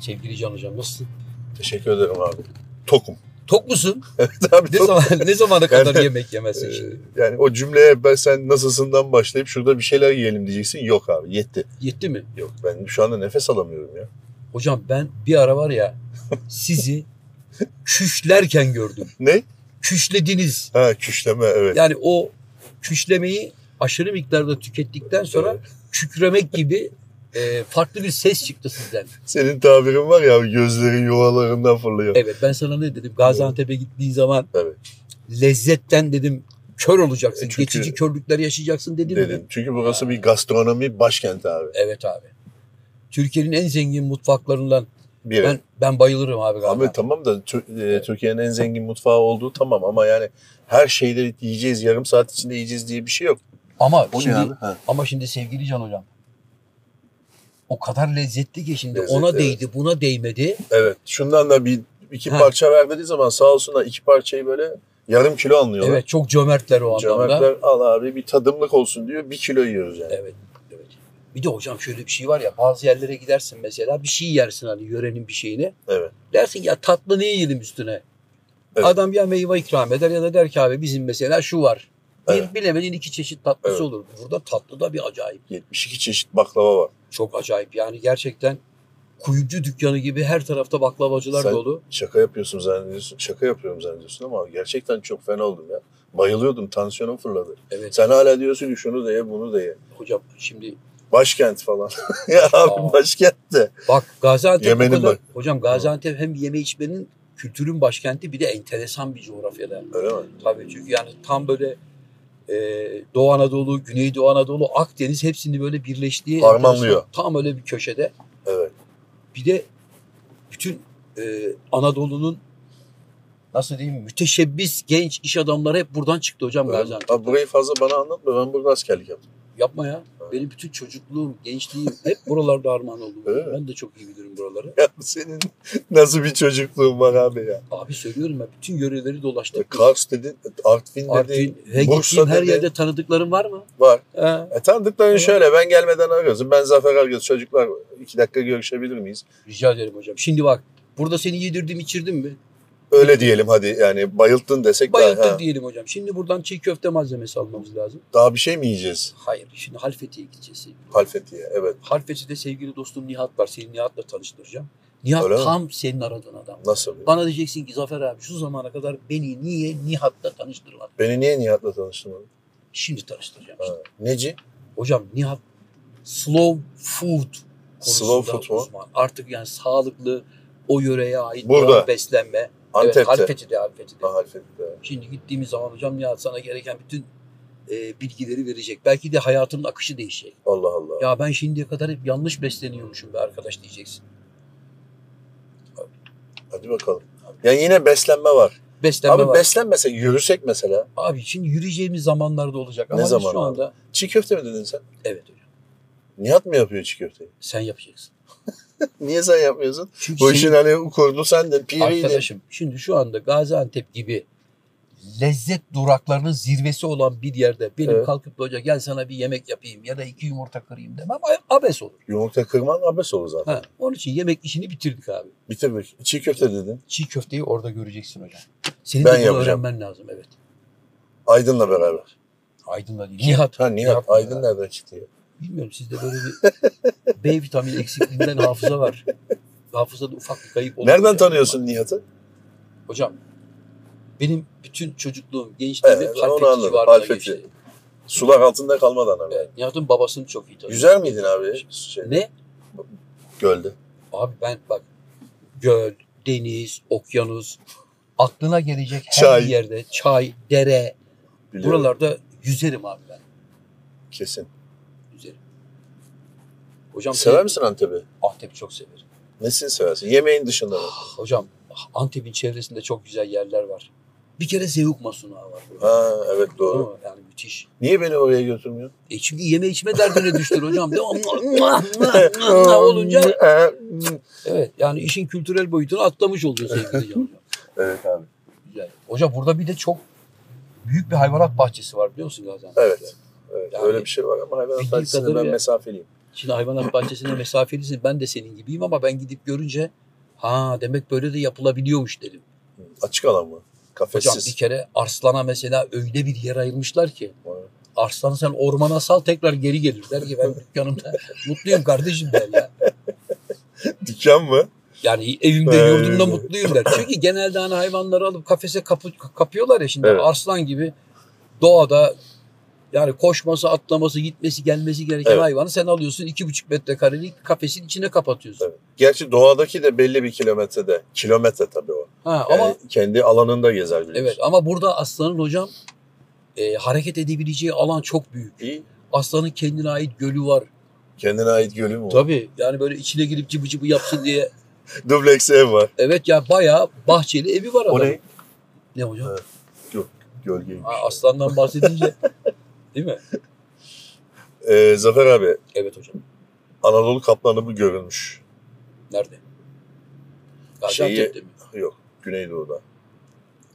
Can Hocam nasılsın? Teşekkür ederim abi. Tokum. Tok musun? Evet abi Ne tok. zaman ne zamana kadar Yani- yemek yemezsin Ee, şimdi? yani o cümleye ben sen nasılsından başlayıp şurada bir şeyler yiyelim diyeceksin. Yok abi yetti. Yetti mi? Yok ben şu anda nefes alamıyorum ya. Hocam ben bir ara var ya sizi küşlerken gördüm. Ne? Küşlediniz. Ha küşleme evet. Yani o küşlemeyi aşırı miktarda tükettikten sonra kükremek gibi e, farklı bir ses çıktı sizden. Senin tabirin var ya gözlerin yuvalarından fırlıyor. Evet ben sana ne dedim? Gaziantep'e gittiğin zaman Evet. lezzetten dedim kör olacaksın. E çünkü- geçici körlükler yaşayacaksın dedim. mi? Dedim. Çünkü burası bir gastronomi başkenti abi. Evet abi. Türkiye'nin en zengin mutfaklarından Bir. ben ben bayılırım abi galiba. Abi tamam da Tür- e, Türkiye'nin en zengin mutfağı olduğu tamam ama yani her şeyleri yiyeceğiz yarım saat içinde yiyeceğiz diye bir şey yok. Ama O şimdi ne abi? Ha. ama şimdi sevgili Can hocam o kadar lezzetli ki şimdi Lezzetli, ona evet. değdi, buna değmedi. Evet. Şundan da bir iki Ha. parça verdiği zaman sağ olsunlar iki parçayı böyle yarım kilo anlıyorlar. Evet çok cömertler o anlamda. Cömertler al abi bir tadımlık olsun diyor. Bir kilo yiyoruz yani. Evet, evet. Bir de hocam şöyle bir şey var ya bazı yerlere gidersin mesela bir şey yersin hani yörenin bir şeyini. Evet. Dersin ya tatlı ne yiyelim üstüne? Evet. Adam ya meyve ikram eder ya da der ki abi bizim mesela şu var. Bir Evet. bilemedin iki çeşit tatlısı Evet. olur. Burada tatlı da bir acayip. 72 çeşit baklava var. Çok acayip yani gerçekten kuyumcu dükkanı gibi her tarafta baklavacılar Sen- dolu. Şaka yapıyorsun zannediyorsun. Şaka yapıyorum zannediyorsun ama gerçekten çok fena oldum ya. Bayılıyordum. Tansiyonum fırladı. Evet Sen hala diyorsun ki şunu da ye bunu da ye. hocam şimdi Başkent falan. ya abi Aa. başkentte. bak Gaziantep bu Yemenin kadar- bak- hocam Gaziantep hem yeme içmenin kültürün başkenti bir de enteresan bir coğrafyada. Öyle mi? Tabii çünkü yani tam böyle e, Doğu Anadolu, Güneydoğu Anadolu, Akdeniz hepsini böyle birleştiği Harmanlıyor. enteresan- tam öyle bir köşede. Evet. Bir de bütün e, Anadolu'nun nasıl diyeyim müteşebbis genç iş adamları hep buradan çıktı hocam Ben, Gaziantep. abi burayı fazla bana anlatma. Ben burada askerlik yaptım. Yapma ya. Evet. Benim bütün çocukluğum, gençliğim hep buralarda armağan oldu. Öyle mi? Ben de çok iyi bilirim buraları. Ya senin nasıl bir çocukluğun var abi ya. Abi söylüyorum ya bütün yöreleri dolaştık. biz. Kars dedin, Artvin Artvin, dedin, he gittiğim E, Bursa her dedin. yerde tanıdıkların var mı? Var. Ha, E, tanıdıkların Tamam. şöyle ben gelmeden arıyorsun. Ben Zafer Argöz çocuklar iki dakika görüşebilir miyiz? rica ederim hocam. Şimdi bak burada seni yedirdim içirdim mi? Öyle diyelim hadi yani bayılttın desek daha, Bayıldık ha, diyelim hocam. Şimdi buradan çiğ köfte malzemesi almamız lazım. daha bir şey mi yiyeceğiz? Hayır. Şimdi Halfeti'ye gideceğiz sevgili. Halfeti'ye evet. Halfeti'de sevgili dostum Nihat var. Seni Nihat'la tanıştıracağım. Nihat Öyle mi? tam senin aradığın adam. Nasıl? bir- Bana diyeceksin ki Zafer abi şu zamana kadar beni niye Nihat'la tanıştırmadın? Beni niye Nihat'la tanıştırmadın? Şimdi tanıştıracağım. Ha, Neci? Hocam Nihat slow food konusunda Slow food mu? uzman. Artık yani sağlıklı o yöreye ait Burada. doğal beslenme. Evet, Antep'te. Halfeti'de, Halfeti'de. Ha, Halfeti'de. Şimdi gittiğimiz zaman hocam Nihat sana gereken bütün e, bilgileri verecek. Belki de hayatının akışı değişecek. Allah Allah. Ya ben şimdiye kadar hep yanlış besleniyormuşum be arkadaş diyeceksin. Hadi bakalım. Yani yine beslenme var. Beslenme abi var. beslenmesek, yürüsek mesela. Abi şimdi yürüyeceğimiz zamanlarda olacak. Ne Ama biz zaman şu abi? anda Çiğ köfte mi dedin sen? evet hocam Nihat mı yapıyor çiğ köfteyi? sen yapacaksın. Niye sen yapmıyorsun? Çünkü Bu senin- işin hani ukurdu sendin, piriydi. Arkadaşım şimdi şu anda Gaziantep gibi lezzet duraklarının zirvesi olan bir yerde benim Evet. kalkıp da hoca gel sana bir yemek yapayım ya da iki yumurta kırayım demem a- abes olur. Yumurta kırman abes olur zaten. Ha, onun için yemek işini bitirdik abi. Bitirdik. Çiğ köfte dedin. Çiğ köfteyi orada göreceksin hocam. Senin Ben de bunu yapacağım. öğrenmen lazım evet. Aydın'la beraber. Aydın'la değil. Nihat. Ha Nihat. Yapma Aydın ya. nereden çıktı ya? Bilmiyorum sizde böyle bir B vitamini eksikliğinden hafıza var. Hafızada ufak bir kayıp oluyor. Nereden Yani. tanıyorsun Nihat'ı? Hocam benim bütün çocukluğum, gençliğim Evet, hep ben onu Halfeti anladım. civarında Halfeti. geçti. Sular altında kalmadan abi. Evet, Nihat'ın babasını çok iyi tanıyorum. Güzel miydin abi şey, Ne? gölde? Abi ben bak göl, deniz, okyanus, aklına gelecek her Çay. yerde çay, dere, Biliyorum. buralarda yüzerim abi ben. Kesin. Yüzerim. Hocam Sever sen- misin Antep'i? Antep'i çok severim. Ah, Nesini seversin? Yemeğin dışında mı? Hocam Antep'in çevresinde çok güzel yerler var. Bir kere Zeyuk Masunağı var. burada. Ha evet doğru. Değil mi? Yani müthiş. Niye beni oraya götürmüyor? E çünkü yeme içme derdine düştür hocam. Devamlı olunca evet yani işin kültürel boyutunu atlamış oluyor sevgili hocam. evet abi. Güzel. Hocam burada bir de çok büyük bir hayvanat bahçesi var biliyor musun Gaziantep'te? Evet. Evet, Yani öyle bir şey var ama hayvanat bildiğim bahçesinde ben kadarıyla- mesafeliyim. Şimdi hayvanat bahçesine mesafelisin ben de senin gibiyim ama ben gidip görünce Ha demek böyle de yapılabiliyormuş dedim. Açık alan mı? Hocam Kafessiz. bir kere arslana mesela öyle bir yer ayırmışlar ki Vay. arslanı sen ormana sal tekrar geri gelir. Der ki ben dükkanımda mutluyum kardeşim der ya. Dükkan mı? Yani evimde Evet. yurdumda mutluyum der. Çünkü genelde hani hayvanları alıp kafese kapı, kapıyorlar ya şimdi Evet. arslan gibi doğada yani koşması, atlaması, gitmesi, gelmesi gereken Evet. hayvanı sen alıyorsun iki buçuk metrekarelik kafesin içine kapatıyorsun. Evet. Gerçi doğadaki de belli bir kilometrede. Kilometre tabii o. Ha, Yani ama kendi alanında gezer bilir. evet ama burada aslanın hocam e, hareket edebileceği alan çok büyük. İyi. Aslanın kendine ait gölü var. Kendine ait gölü mü? var? Tabii. Yani böyle içine girip cıbı cıbı yapsın diye. Dubleks ev var. Evet ya bayağı bahçeli evi var O adamın. ne? Ne? hocam? Evet. Gölgeymiş. Ha, aslandan bahsedince. Değil mi? Ee, Zafer abi, Evet hocam. Anadolu kaplanı mı görülmüş? Nerede? Şeyi- Gaziantep'te mi? Yok, Güneydoğu'da.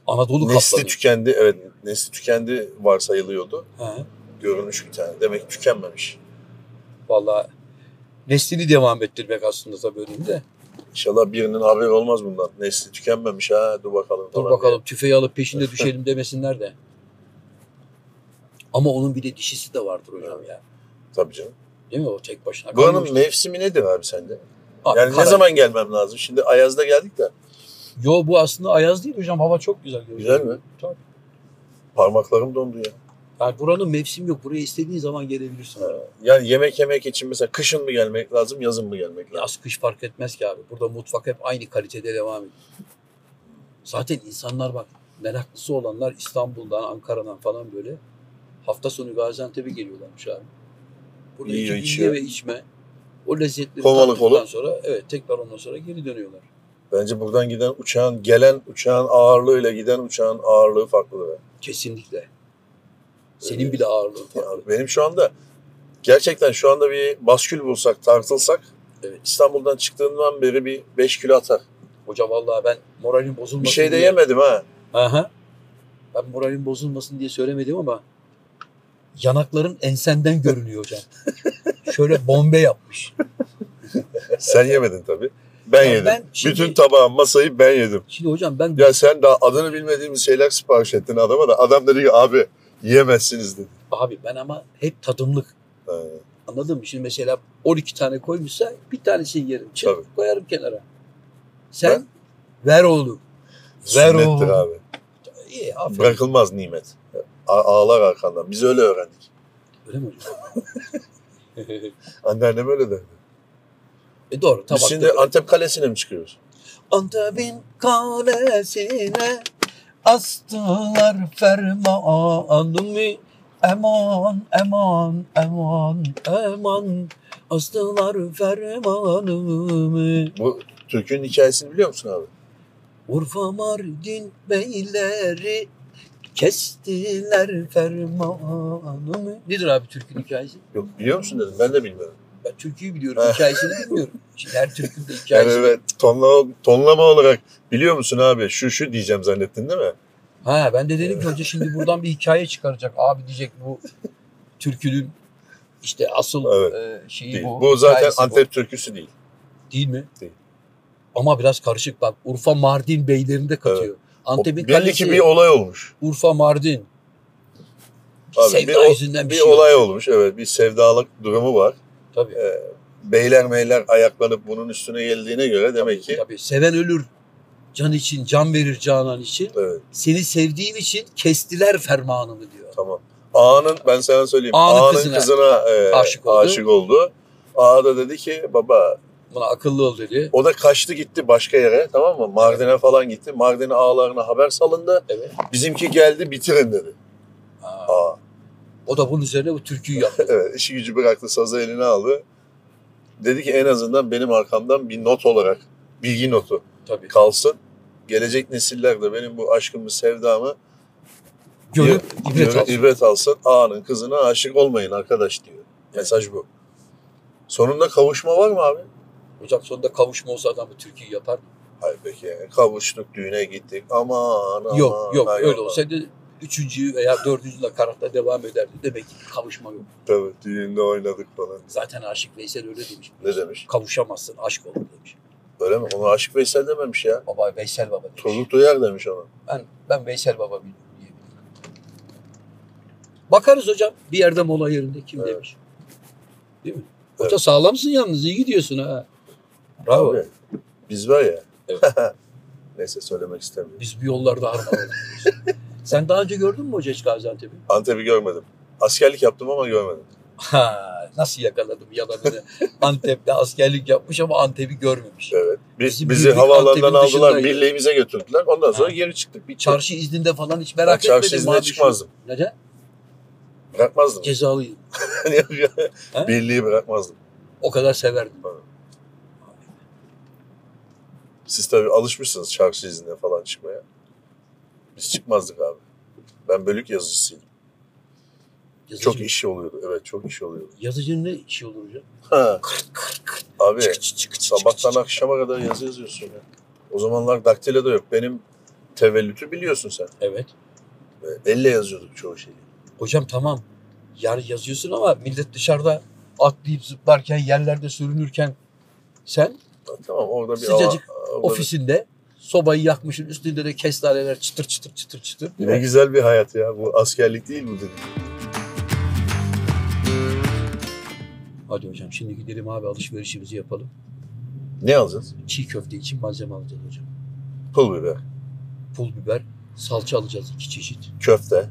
Anadolu Nesli kaplanı. tükendi, evet nesli tükendi varsayılıyordu. Ha, Görülmüş bir tane. Demek ki tükenmemiş. vallahi neslini devam ettirmek aslında tabii önünde. İnşallah birinin haberi olmaz bundan. Nesli tükenmemiş ha dur bakalım. Dur falan bakalım tüfeği alıp peşinde düşelim demesinler de. Ama onun bir de dişisi de vardır hocam ya. diye. Tabii canım. Değil mi o tek başına? Buranın kalmış. mevsimi nedir abi sende? Abi, Yani ne karar- zaman gelmem lazım? Şimdi Ayaz'da geldik de Yo bu aslında ayaz değil hocam. Hava çok güzel. görünüyor. Güzel mi? Tabii. parmaklarım dondu ya. Yani buranın mevsim yok. Buraya istediğin zaman gelebilirsin. Yani yemek yemek için mesela kışın mı gelmek lazım, yazın mı gelmek lazım? Yaz kış fark etmez ki abi. Burada mutfak hep aynı kalitede devam ediyor. Zaten insanlar bak meraklısı olanlar İstanbul'dan, Ankara'dan falan böyle hafta sonu Gaziantep'e geliyorlarmış abi. Burada Yiyor, iki içiyor. gün ye ve içme. O lezzetleri Kovalık tattıktan olup. sonra evet tekrar ondan sonra geri dönüyorlar. Bence buradan giden uçağın, gelen uçağın ağırlığıyla giden uçağın ağırlığı farklı. be. Kesinlikle. Senin Öyle. bile ağırlığın Ya farklı. benim şu anda gerçekten şu anda bir baskül bulsak, tartılsak e, Evet. İstanbul'dan çıktığımdan beri bir 5 kilo atar. Hoca vallahi ben moralim bozulmasın Bir şey de diye- yemedim ha. Aha. Ben moralim bozulmasın diye söylemedim ama yanakların ensenden görünüyor hocam. Şöyle bombe yapmış. Sen yemedin tabii. Ben Ya yedim. ben şimdi- Bütün tabağı, masayı ben yedim. Şimdi hocam ben Ya sen daha adını bilmediğimiz şeyler sipariş ettin adama da adam dedi ki abi yiyemezsiniz dedi. abi ben ama hep tadımlık Ha, anladın mı? Şimdi mesela 12 tane koymuşsa bir tanesini yerim. Çık Tabii. koyarım kenara. Sen ver oğlum. Ver sünnettir oğlum. abi. İyi aferin. Bırakılmaz nimet. A- ağlar arkandan. Biz öyle öğrendik. Öyle mi hocam? Anneannem öyle derdi. e doğru Biz tabakta. şimdi Antep Kalesi'ne mi çıkıyoruz? Antep'in kalesine astılar fermanımı Eman, eman, eman, eman astılar fermanımı Bu Türk'ün hikayesini biliyor musun abi? Urfa Mardin beyleri kestiler fermanımı Nedir abi türkün hikayesi? Yok biliyor musun dedim. Ben de bilmiyorum. Ben türküyü biliyorum, hikayesini bilmiyorum. Şimdi her türkün de hikayesi. Yani evet, tonlama, tonlama olarak biliyor musun abi şu şu diyeceğim zannettin değil mi? Ha ben de dedim ki hoca şimdi buradan bir hikaye çıkaracak. Abi diyecek bu türkünün işte asıl Evet. e, şeyi Değil. bu. Bu zaten hikayesi bu. Antep türküsü değil. Değil mi? Değil. Ama biraz karışık bak. Urfa Mardin beylerini de katıyor. O Antep'in belli kalesi ki bir olay olmuş. Urfa Mardin. Abi, Sevda bir o- yüzünden bir, bir şey olay. olay olmuş evet bir sevdalık durumu var. Tabii. Beyler meyler ayaklanıp bunun üstüne geldiğine göre demek ki Tabii. Seven ölür can için, can verir canan için. evet Seni sevdiğim için kestiler fermanımı diyor. tamam. Ağanın ben sana söyleyeyim Ağanın ağanın kızına kızına, e, aşık aşık, oldu. oldu. Ağa da dedi ki baba Buna akıllı ol dedi. o da kaçtı gitti başka yere tamam mı? Mardin'e falan gitti. Mardin ağalarına haber salındı. Evet. Bizimki geldi bitirin dedi. Ha, Ağa. O da bunun üzerine bu türküyü yaptı. Evet, işi gücü bıraktı, sazı eline aldı. Dedi ki en azından benim arkamdan bir not olarak, bilgi notu Tabii. kalsın. Gelecek nesiller de benim bu aşkımı, sevdamı Görüp ibret göre- alsın. ibret alsın. Ağanın kızına aşık olmayın arkadaş diyor. Mesaj bu. Sonunda kavuşma var mı abi? Hocam sonunda kavuşma olsa adam bu türküyü yapar mı? Hayır peki yani kavuştuk, düğüne gittik. Aman aman. yok yok ha, öyle olsaydı üçüncü veya dördüncü nakaratla devam ederdi. Demek ki kavuşma yok. Tabii düğünde oynadık falan. Zaten Aşık Veysel öyle demiş. Ne demiş? Kavuşamazsın aşk olur demiş. Öyle mi? Ona Aşık Veysel dememiş ya. Baba Veysel Baba demiş. Turgut Uyar demiş ona. Ben, ben Veysel Baba biliyorum diyebilirim. Bakarız hocam bir yerde mola yerinde kim Evet. demiş. Değil mi? Evet. Hoca sağlamsın yalnız iyi gidiyorsun ha. Bravo. Abi, biz var ya. Evet. Neyse söylemek istemiyorum. Biz bu yollarda harmanlanıyoruz. Sen daha önce gördün mü hoca hiç Gaziantep'i? Antep'i görmedim. Askerlik yaptım ama görmedim. Ha, nasıl yakaladım yalanını. Antep'te askerlik yapmış ama Antep'i görmemiş. Evet. Biz, Bizim bizi birlik havaalanından Antep'in aldılar, dışındaydı. birliğimize götürdüler. Ondan sonra Ha. geri çıktık. Bir Çarşı izninde falan hiç Ben merak çarşı etmedim. izine abi. çıkmazdım. Neden? Bırakmazdım. Cezalıyım. Ha? Birliği bırakmazdım. O kadar severdim. Siz tabii alışmışsınız çarşı izine falan çıkmaya. Biz çıkmazdık abi. Ben bölük yazıcısıydım. Yazıcı, Çok iş oluyordu. Evet çok iş oluyordu. Yazıcının ne işi olur hocam? Ha. Abi Çık, çık, çık, çık, çık, sabahtan çık. akşama kadar yazı yazıyorsun ya. O zamanlar daktilo da yok. Benim tevellütü biliyorsun sen. Evet. E, Elle yazıyorduk çoğu şeyi. Hocam tamam. Yar yazıyorsun ama millet dışarıda atlayıp zıplarken, yerlerde sürünürken sen Ha, Tamam orada bir Sıcacık hava- orada bir- ofisinde sobayı yakmışsın. Üstünde de kestaneler çıtır çıtır çıtır çıtır. Ne güzel bir hayat ya. Bu askerlik değil bu dedim. Hadi hocam şimdi gidelim abi alışverişimizi yapalım. Ne alacağız? Çiğ köfte için malzeme alacağız hocam. Pul biber, Pul biber, salça alacağız iki çeşit. köfte.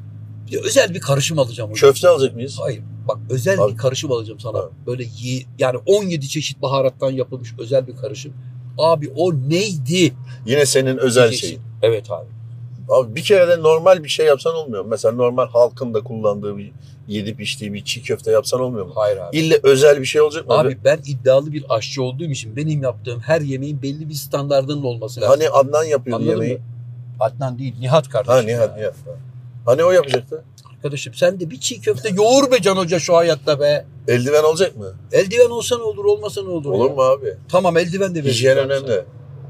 Bir de özel bir karışım alacağım hocam. Köfte alacak mıyız? Hayır bak özel Abi. bir karışım alacağım sana. Abi. Böyle ye, yani 17 çeşit baharattan yapılmış özel bir karışım. Abi o neydi? Yine senin özel Diyeceksin. şeyin. Evet abi. Abi bir kere de normal bir şey yapsan olmuyor. mu? Mesela normal halkın da kullandığı bir yedip içtiği bir çiğ köfte yapsan olmuyor mu? Hayır abi. İlle özel bir şey olacak mı? Abi ben iddialı bir aşçı olduğum için benim yaptığım her yemeğin belli bir standardının olması lazım. Hani Adnan yapıyordu Anladın yemeği. mı? Adnan değil Nihat kardeşim. Ha Nihat, ya. Nihat. Hani o yapacaktı? Arkadaşım sen de bir çiğ köfte yoğur be Can Hoca şu hayatta be. Eldiven olacak mı? Eldiven olsa ne olur olmasa ne olur Olur ya? mu abi? Tamam eldiven de Hijyen abi sana. önemli.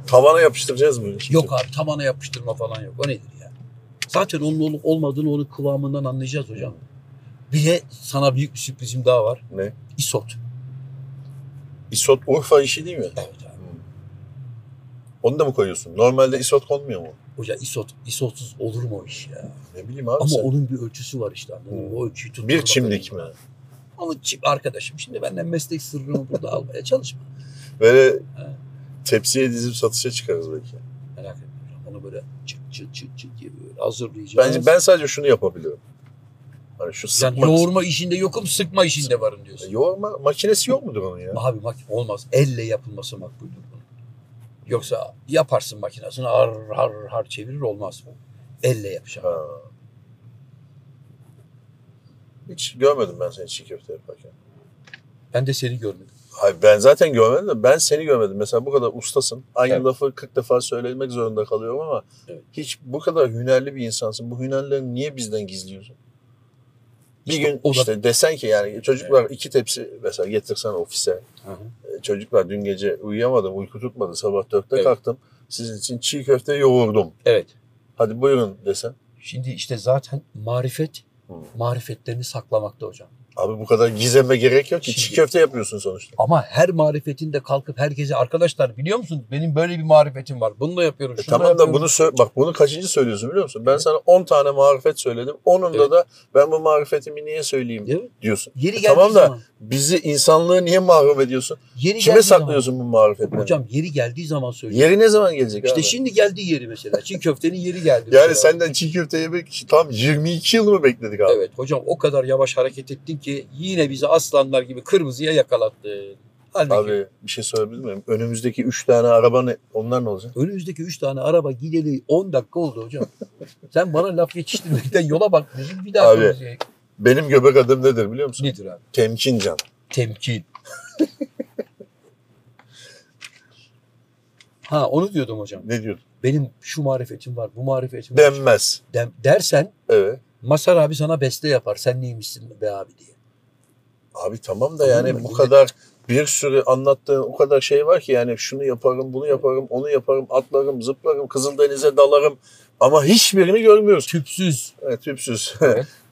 Tavana yapıştıracağız bunu. çiğ Yok köfte. abi tabana yapıştırma falan yok. O nedir ya? Zaten onun olup olmadığını onun kıvamından anlayacağız hocam. Bir de sana büyük bir sürprizim daha var. Ne? Isot. İsot Urfa işi değil mi? Evet abi. Onu da mı koyuyorsun? Normalde isot konmuyor mu? Hoca isot, isotsuz olur mu o iş ya? Ne bileyim abi Ama sen. onun bir ölçüsü var işte anladın mı? Hmm. O ölçüyü tutturmak Bir çimdik mi? önemli. Ama çim arkadaşım şimdi benden meslek sırrımı burada almaya çalışma. Böyle Ha. tepsiye dizip satışa çıkarız belki. Merak etme. Onu böyle çıt çıt çıt çıt diye böyle hazırlayacağız. Bence ben sadece şunu yapabiliyorum. Hani şu Sen sıkma. yoğurma işinde yokum, sıkma işinde varım diyorsun. Yoğurma makinesi yok mudur onun ya? Abi bak olmaz. Elle yapılması makbuldür bunun. Yoksa yaparsın makinesini har har har çevirir olmaz. Elle yapacağım. Ha. Hiç görmedim ben seni çiğ köfte yaparken. Ben de seni görmedim. Hayır ben zaten görmedim de ben seni görmedim. Mesela bu kadar ustasın. Aynı Evet. lafı 40 defa söylemek zorunda kalıyorum ama Evet. hiç bu kadar hünerli bir insansın. Bu hünerleri niye bizden gizliyorsun? Bir İşte gün o da- işte desen ki yani çocuklar iki tepsi mesela getirsen ofise Hı hı. E, Çocuklar dün gece uyuyamadım, uyku tutmadı. Sabah dörtte Evet. kalktım. Sizin için çiğ köfte yoğurdum. Evet. Hadi buyurun desen. Şimdi işte zaten marifet Hı. marifetlerini saklamakta hocam. Abi bu kadar gizeme gerek yok ki. Şimdi- Çiğ köfte yapıyorsun sonuçta. Ama her marifetin de kalkıp herkese arkadaşlar biliyor musunuz benim böyle bir marifetim var. Bunu da yapıyorum. E şunu tamam da yapıyorum." bunu sö- bak bunu kaçıncı söylüyorsun biliyor musun? Ben sana 10 tane marifet söyledim. Onunda Evet. da ben bu marifetimi niye söyleyeyim Değil mi? diyorsun. Yeri E geldiği tamam da- zaman. Bizi insanlığı niye mahrum ediyorsun? Yeri Kime geldiği zaman- saklıyorsun bu marifetleri? Hocam yeri geldiği zaman söylüyorum. Yeri ne zaman gelecek İşte abi? şimdi şey geldiği yeri mesela. Çiğ köftenin yeri geldi. yani mesela. senden çiğ köfte yemek için tam 22 yıl mı bekledik abi? Evet hocam o kadar yavaş hareket ettin ki yine bizi aslanlar gibi kırmızıya yakalattın. Halbuki Abi bir şey söyleyebilir miyim? Önümüzdeki 3 tane araba ne? Onlar ne olacak? önümüzdeki 3 tane araba gideli 10 dakika oldu hocam. Sen bana laf geçiştirmekten yola bak. Bizim bir daha Abi. kırmızıya Benim göbek adım nedir biliyor musun? Nedir abi? Temkin can. Temkin. ha onu diyordum hocam. Ne diyordun? Benim şu marifetim var, bu marifetim var. Denmez. Dem- dersen Evet. Masar abi sana beste yapar. Sen neymişsin be abi diye. Abi tamam da Tamam yani mı? bu Yine- kadar bir sürü anlattığın o kadar şey var ki yani şunu yaparım, bunu yaparım, onu yaparım, atlarım, zıplarım, Kızıldeniz'e dalarım ama hiçbirini görmüyoruz. Tüpsüz. Evet, tüpsüz.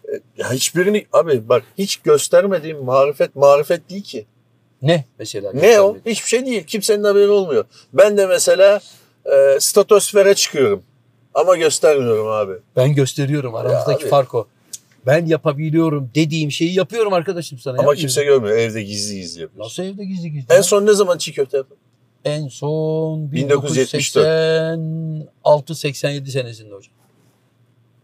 Evet. ya hiçbirini abi bak hiç göstermediğim marifet marifet değil ki. Ne? Mesela Ne o? göstermek. Hiçbir şey değil. Kimsenin haberi olmuyor. Ben de mesela e, statosfere çıkıyorum. Ama göstermiyorum abi. Ben gösteriyorum aramızdaki abi. fark o. Ben yapabiliyorum dediğim şeyi yapıyorum arkadaşım sana. Ama yapmıyorum. kimse görmüyor. Evde gizli gizli yapıyoruz. Nasıl evde gizli gizli? En ya? son ne zaman çiğ köfte yaptın? En son 1974. 1986-87 senesinde hocam.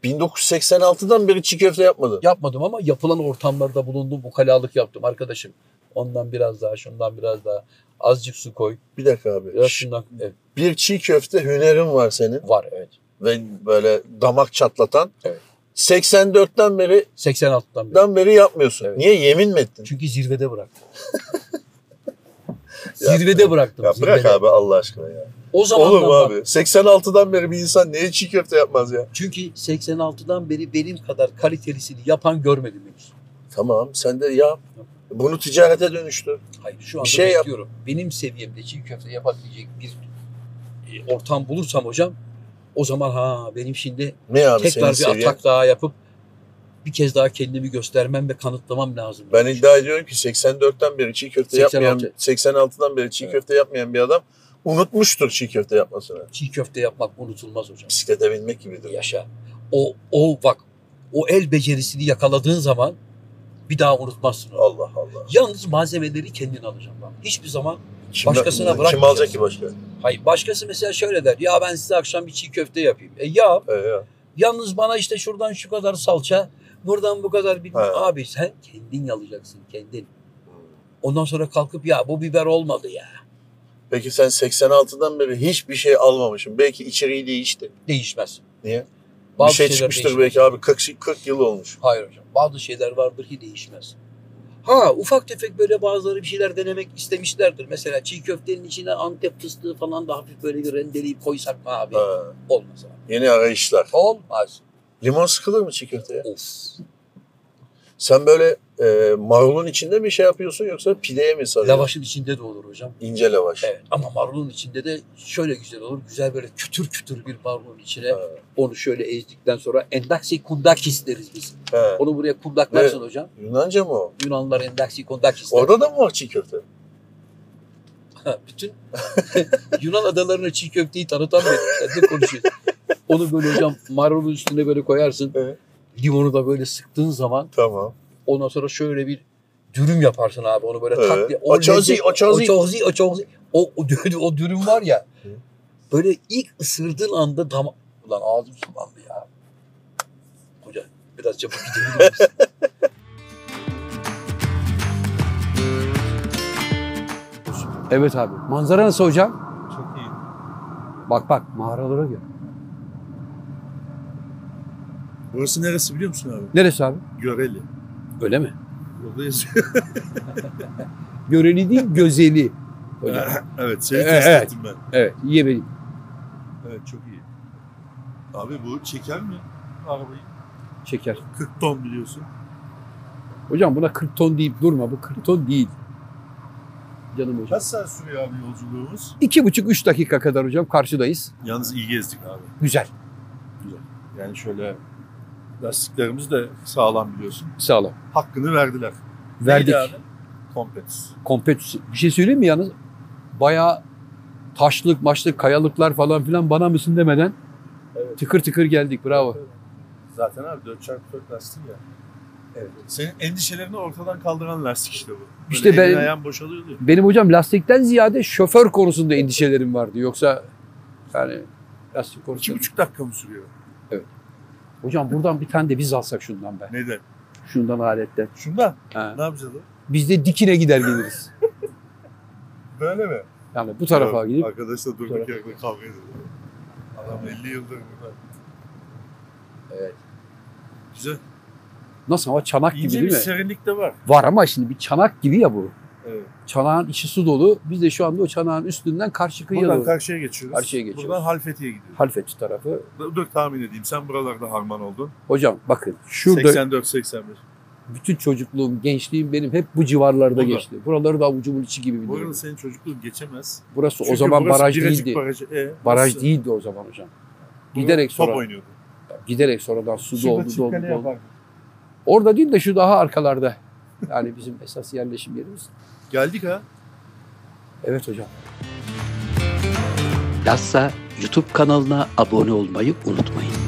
1986'dan beri çiğ köfte yapmadın. Yapmadım ama yapılan ortamlarda bulundum. Ukalalık yaptım arkadaşım. Ondan biraz daha, şundan biraz daha. Azıcık su koy. Bir dakika abi. Biraz Şş, şundan. Evet, Bir çiğ köfte hünerin var senin var evet. ve böyle damak çatlatan. Evet. 84'ten beri 86'dan beri. dan beri yapmıyorsun. Evet. Niye yemin mi ettin? Çünkü zirvede bıraktım. zirvede bıraktım. Ya bırak zirvede. abi Allah aşkına ya. O zaman Olur mu abi? 86'dan beri bir insan niye çiğ köfte yapmaz ya? Çünkü 86'dan beri benim kadar kalitelisini yapan görmedim henüz. Tamam sen de yap. Bunu ticarete dönüştür. Hayır şu anda şey yap. bekliyorum. Benim seviyemde çiğ köfte yapabilecek bir e, ortam bulursam hocam o zaman ha benim şimdi Ne abi tekrar bir senin seviyen? atak daha yapıp bir kez daha kendimi göstermem ve kanıtlamam lazım. Ben iddia ediyorum ki 84'ten beri çiğ köfte 86. yapmayan, 86'dan beri çiğ Evet. köfte yapmayan bir adam unutmuştur çiğ köfte yapmasını. Çiğ köfte yapmak unutulmaz hocam. Bisiklete binmek gibidir. Yaşa. O, o bak o el becerisini yakaladığın zaman bir daha unutmazsın onu. Allah Allah. Yalnız malzemeleri kendin alacaksın bak. Hiçbir zaman Kim, Başkasına Kim bırakmayacaksın. alacak ki başka? Hayır başkası mesela şöyle der. Ya ben size akşam bir çiğ köfte yapayım. E yap. Ee, ya. Yalnız bana işte şuradan şu kadar salça, buradan bu kadar bir Ha. abi sen kendin yalacaksın kendin. Hmm. Ondan sonra kalkıp ya bu biber olmadı ya. Peki sen 86'dan beri hiçbir şey almamışsın. Belki içeriği değişti. Değişmez. Niye? Bazı bir şey şeyler çıkmıştır değişmez. belki abi 40, 40 yıl olmuş. Hayır hocam. Bazı şeyler vardır ki değişmez. Ha ufak tefek böyle bazıları bir şeyler denemek istemişlerdir. Mesela çiğ köftenin içine antep fıstığı falan da hafif böyle bir rendeleyip koysak mı abi? Ha, Olmaz abi. yeni arayışlar. Olmaz. Limon sıkılır mı çiğ köfteye? Of. Sen böyle e, marulun içinde mi şey yapıyorsun yoksa pideye mi sarıyorsun? Lavaşın içinde de olur hocam. İnce lavaş. Evet ama marulun içinde de şöyle güzel olur. Güzel böyle kütür kütür bir marulun içine Evet. onu şöyle ezdikten sonra endaksi kundakis deriz biz. He. Onu buraya kundaklarsın hocam. Yunanca mı o? Yunanlılar endaksi kundakis der. Orada da mı var çiğ köfte? Ha, Bütün Yunan adalarına çiğ köfteyi tanıtan benim. Sen de konuşuyorsun. Onu böyle hocam marulun üstüne böyle koyarsın. Evet. Limonu da böyle sıktığın zaman Tamam. ondan sonra şöyle bir dürüm yaparsın abi onu böyle Evet. tak diye. Oçozi, lezzet- oçozi. oçozi, oçozi. O, o, dü- o dürüm var ya. Hı. böyle ilk ısırdığın anda dama... Ulan ağzım sulandı ya. Hoca biraz çabuk gidebilir misin? evet abi. Manzara nasıl hocam? Çok iyi. Bak bak mağaralara gel. Burası neresi biliyor musun abi? Neresi abi? Göreli. Öyle mi? Burada yazıyor. Göreli değil gözeli. Hocam. evet seni Evet, test E, evet. ettim ben. evet iyi benim. Evet çok iyi. Abi bu çeker mi arabayı? Şeker. 40 ton biliyorsun. Hocam buna 40 ton deyip durma. Bu 40 ton değil. Canım hocam. Kaç saat sürüyor abi yolculuğumuz? İki buçuk üç dakika kadar hocam karşıdayız. Yalnız iyi gezdik abi. Güzel. Yani şöyle lastiklerimiz de sağlam biliyorsun. Sağlam. Hakkını verdiler. Verdik. Neydi abi? Kompetis. Kompet. Bir şey söyleyeyim mi yalnız? Bayağı taşlık, maçlık, kayalıklar falan filan bana mısın demeden Evet. tıkır tıkır geldik. Bravo. Zaten abi 4x4 lastiği ya. Evet. Senin endişelerini ortadan kaldıran lastik işte bu. Böyle İşte elin ben- ayağın boşalıyordu ya. Benim hocam lastikten ziyade şoför konusunda endişelerim vardı. Yoksa yani lastik konusunda. 2,5 dakika mı sürüyor? Hocam buradan bir tane de biz alsak şundan be. Neden? Şundan aletten. Şundan. Ha. Ne yapacağız? abi? Biz de dikine gider geliriz. Böyle mi? Yani bu tarafa Tamam, gidip Arkadaşla Bu durduk tarafa. yerde kavga ediyor. Adam 50 yıldır burada. Evet. Güzel. nasıl ama çanak gibi İnce değil bir şey- mi? serinlik de var. Var ama şimdi bir çanak gibi ya bu. Evet. Çanağın içi su dolu. Biz de şu anda o çanağın üstünden karşı kıyıya Buradan doğru. karşıya geçiyoruz. Karşıya geçiyoruz. Buradan Halfeti'ye gidiyoruz. Halfeti tarafı. Dur tahmin edeyim. Sen buralarda harman oldun. Hocam bakın şurada 84-81. bütün çocukluğum, gençliğim benim hep bu civarlarda Burada. geçti. Buraları da avucumun içi gibi Bu arada biliyorum. senin çocukluğun geçemez. Burası o Çünkü zaman burası baraj Birecik değildi. Barajı. E, Baraj burası- değildi o zaman hocam. Burada Giderek sonra- Top oynuyordu. Giderek sonradan su Şurada doldu doldu çıpkane doldu. yapardı. Orada değil de şu daha arkalarda. Yani bizim esas yerleşim yerimiz. Geldik ha. Evet hocam. Lassa YouTube kanalına abone olmayı unutmayın.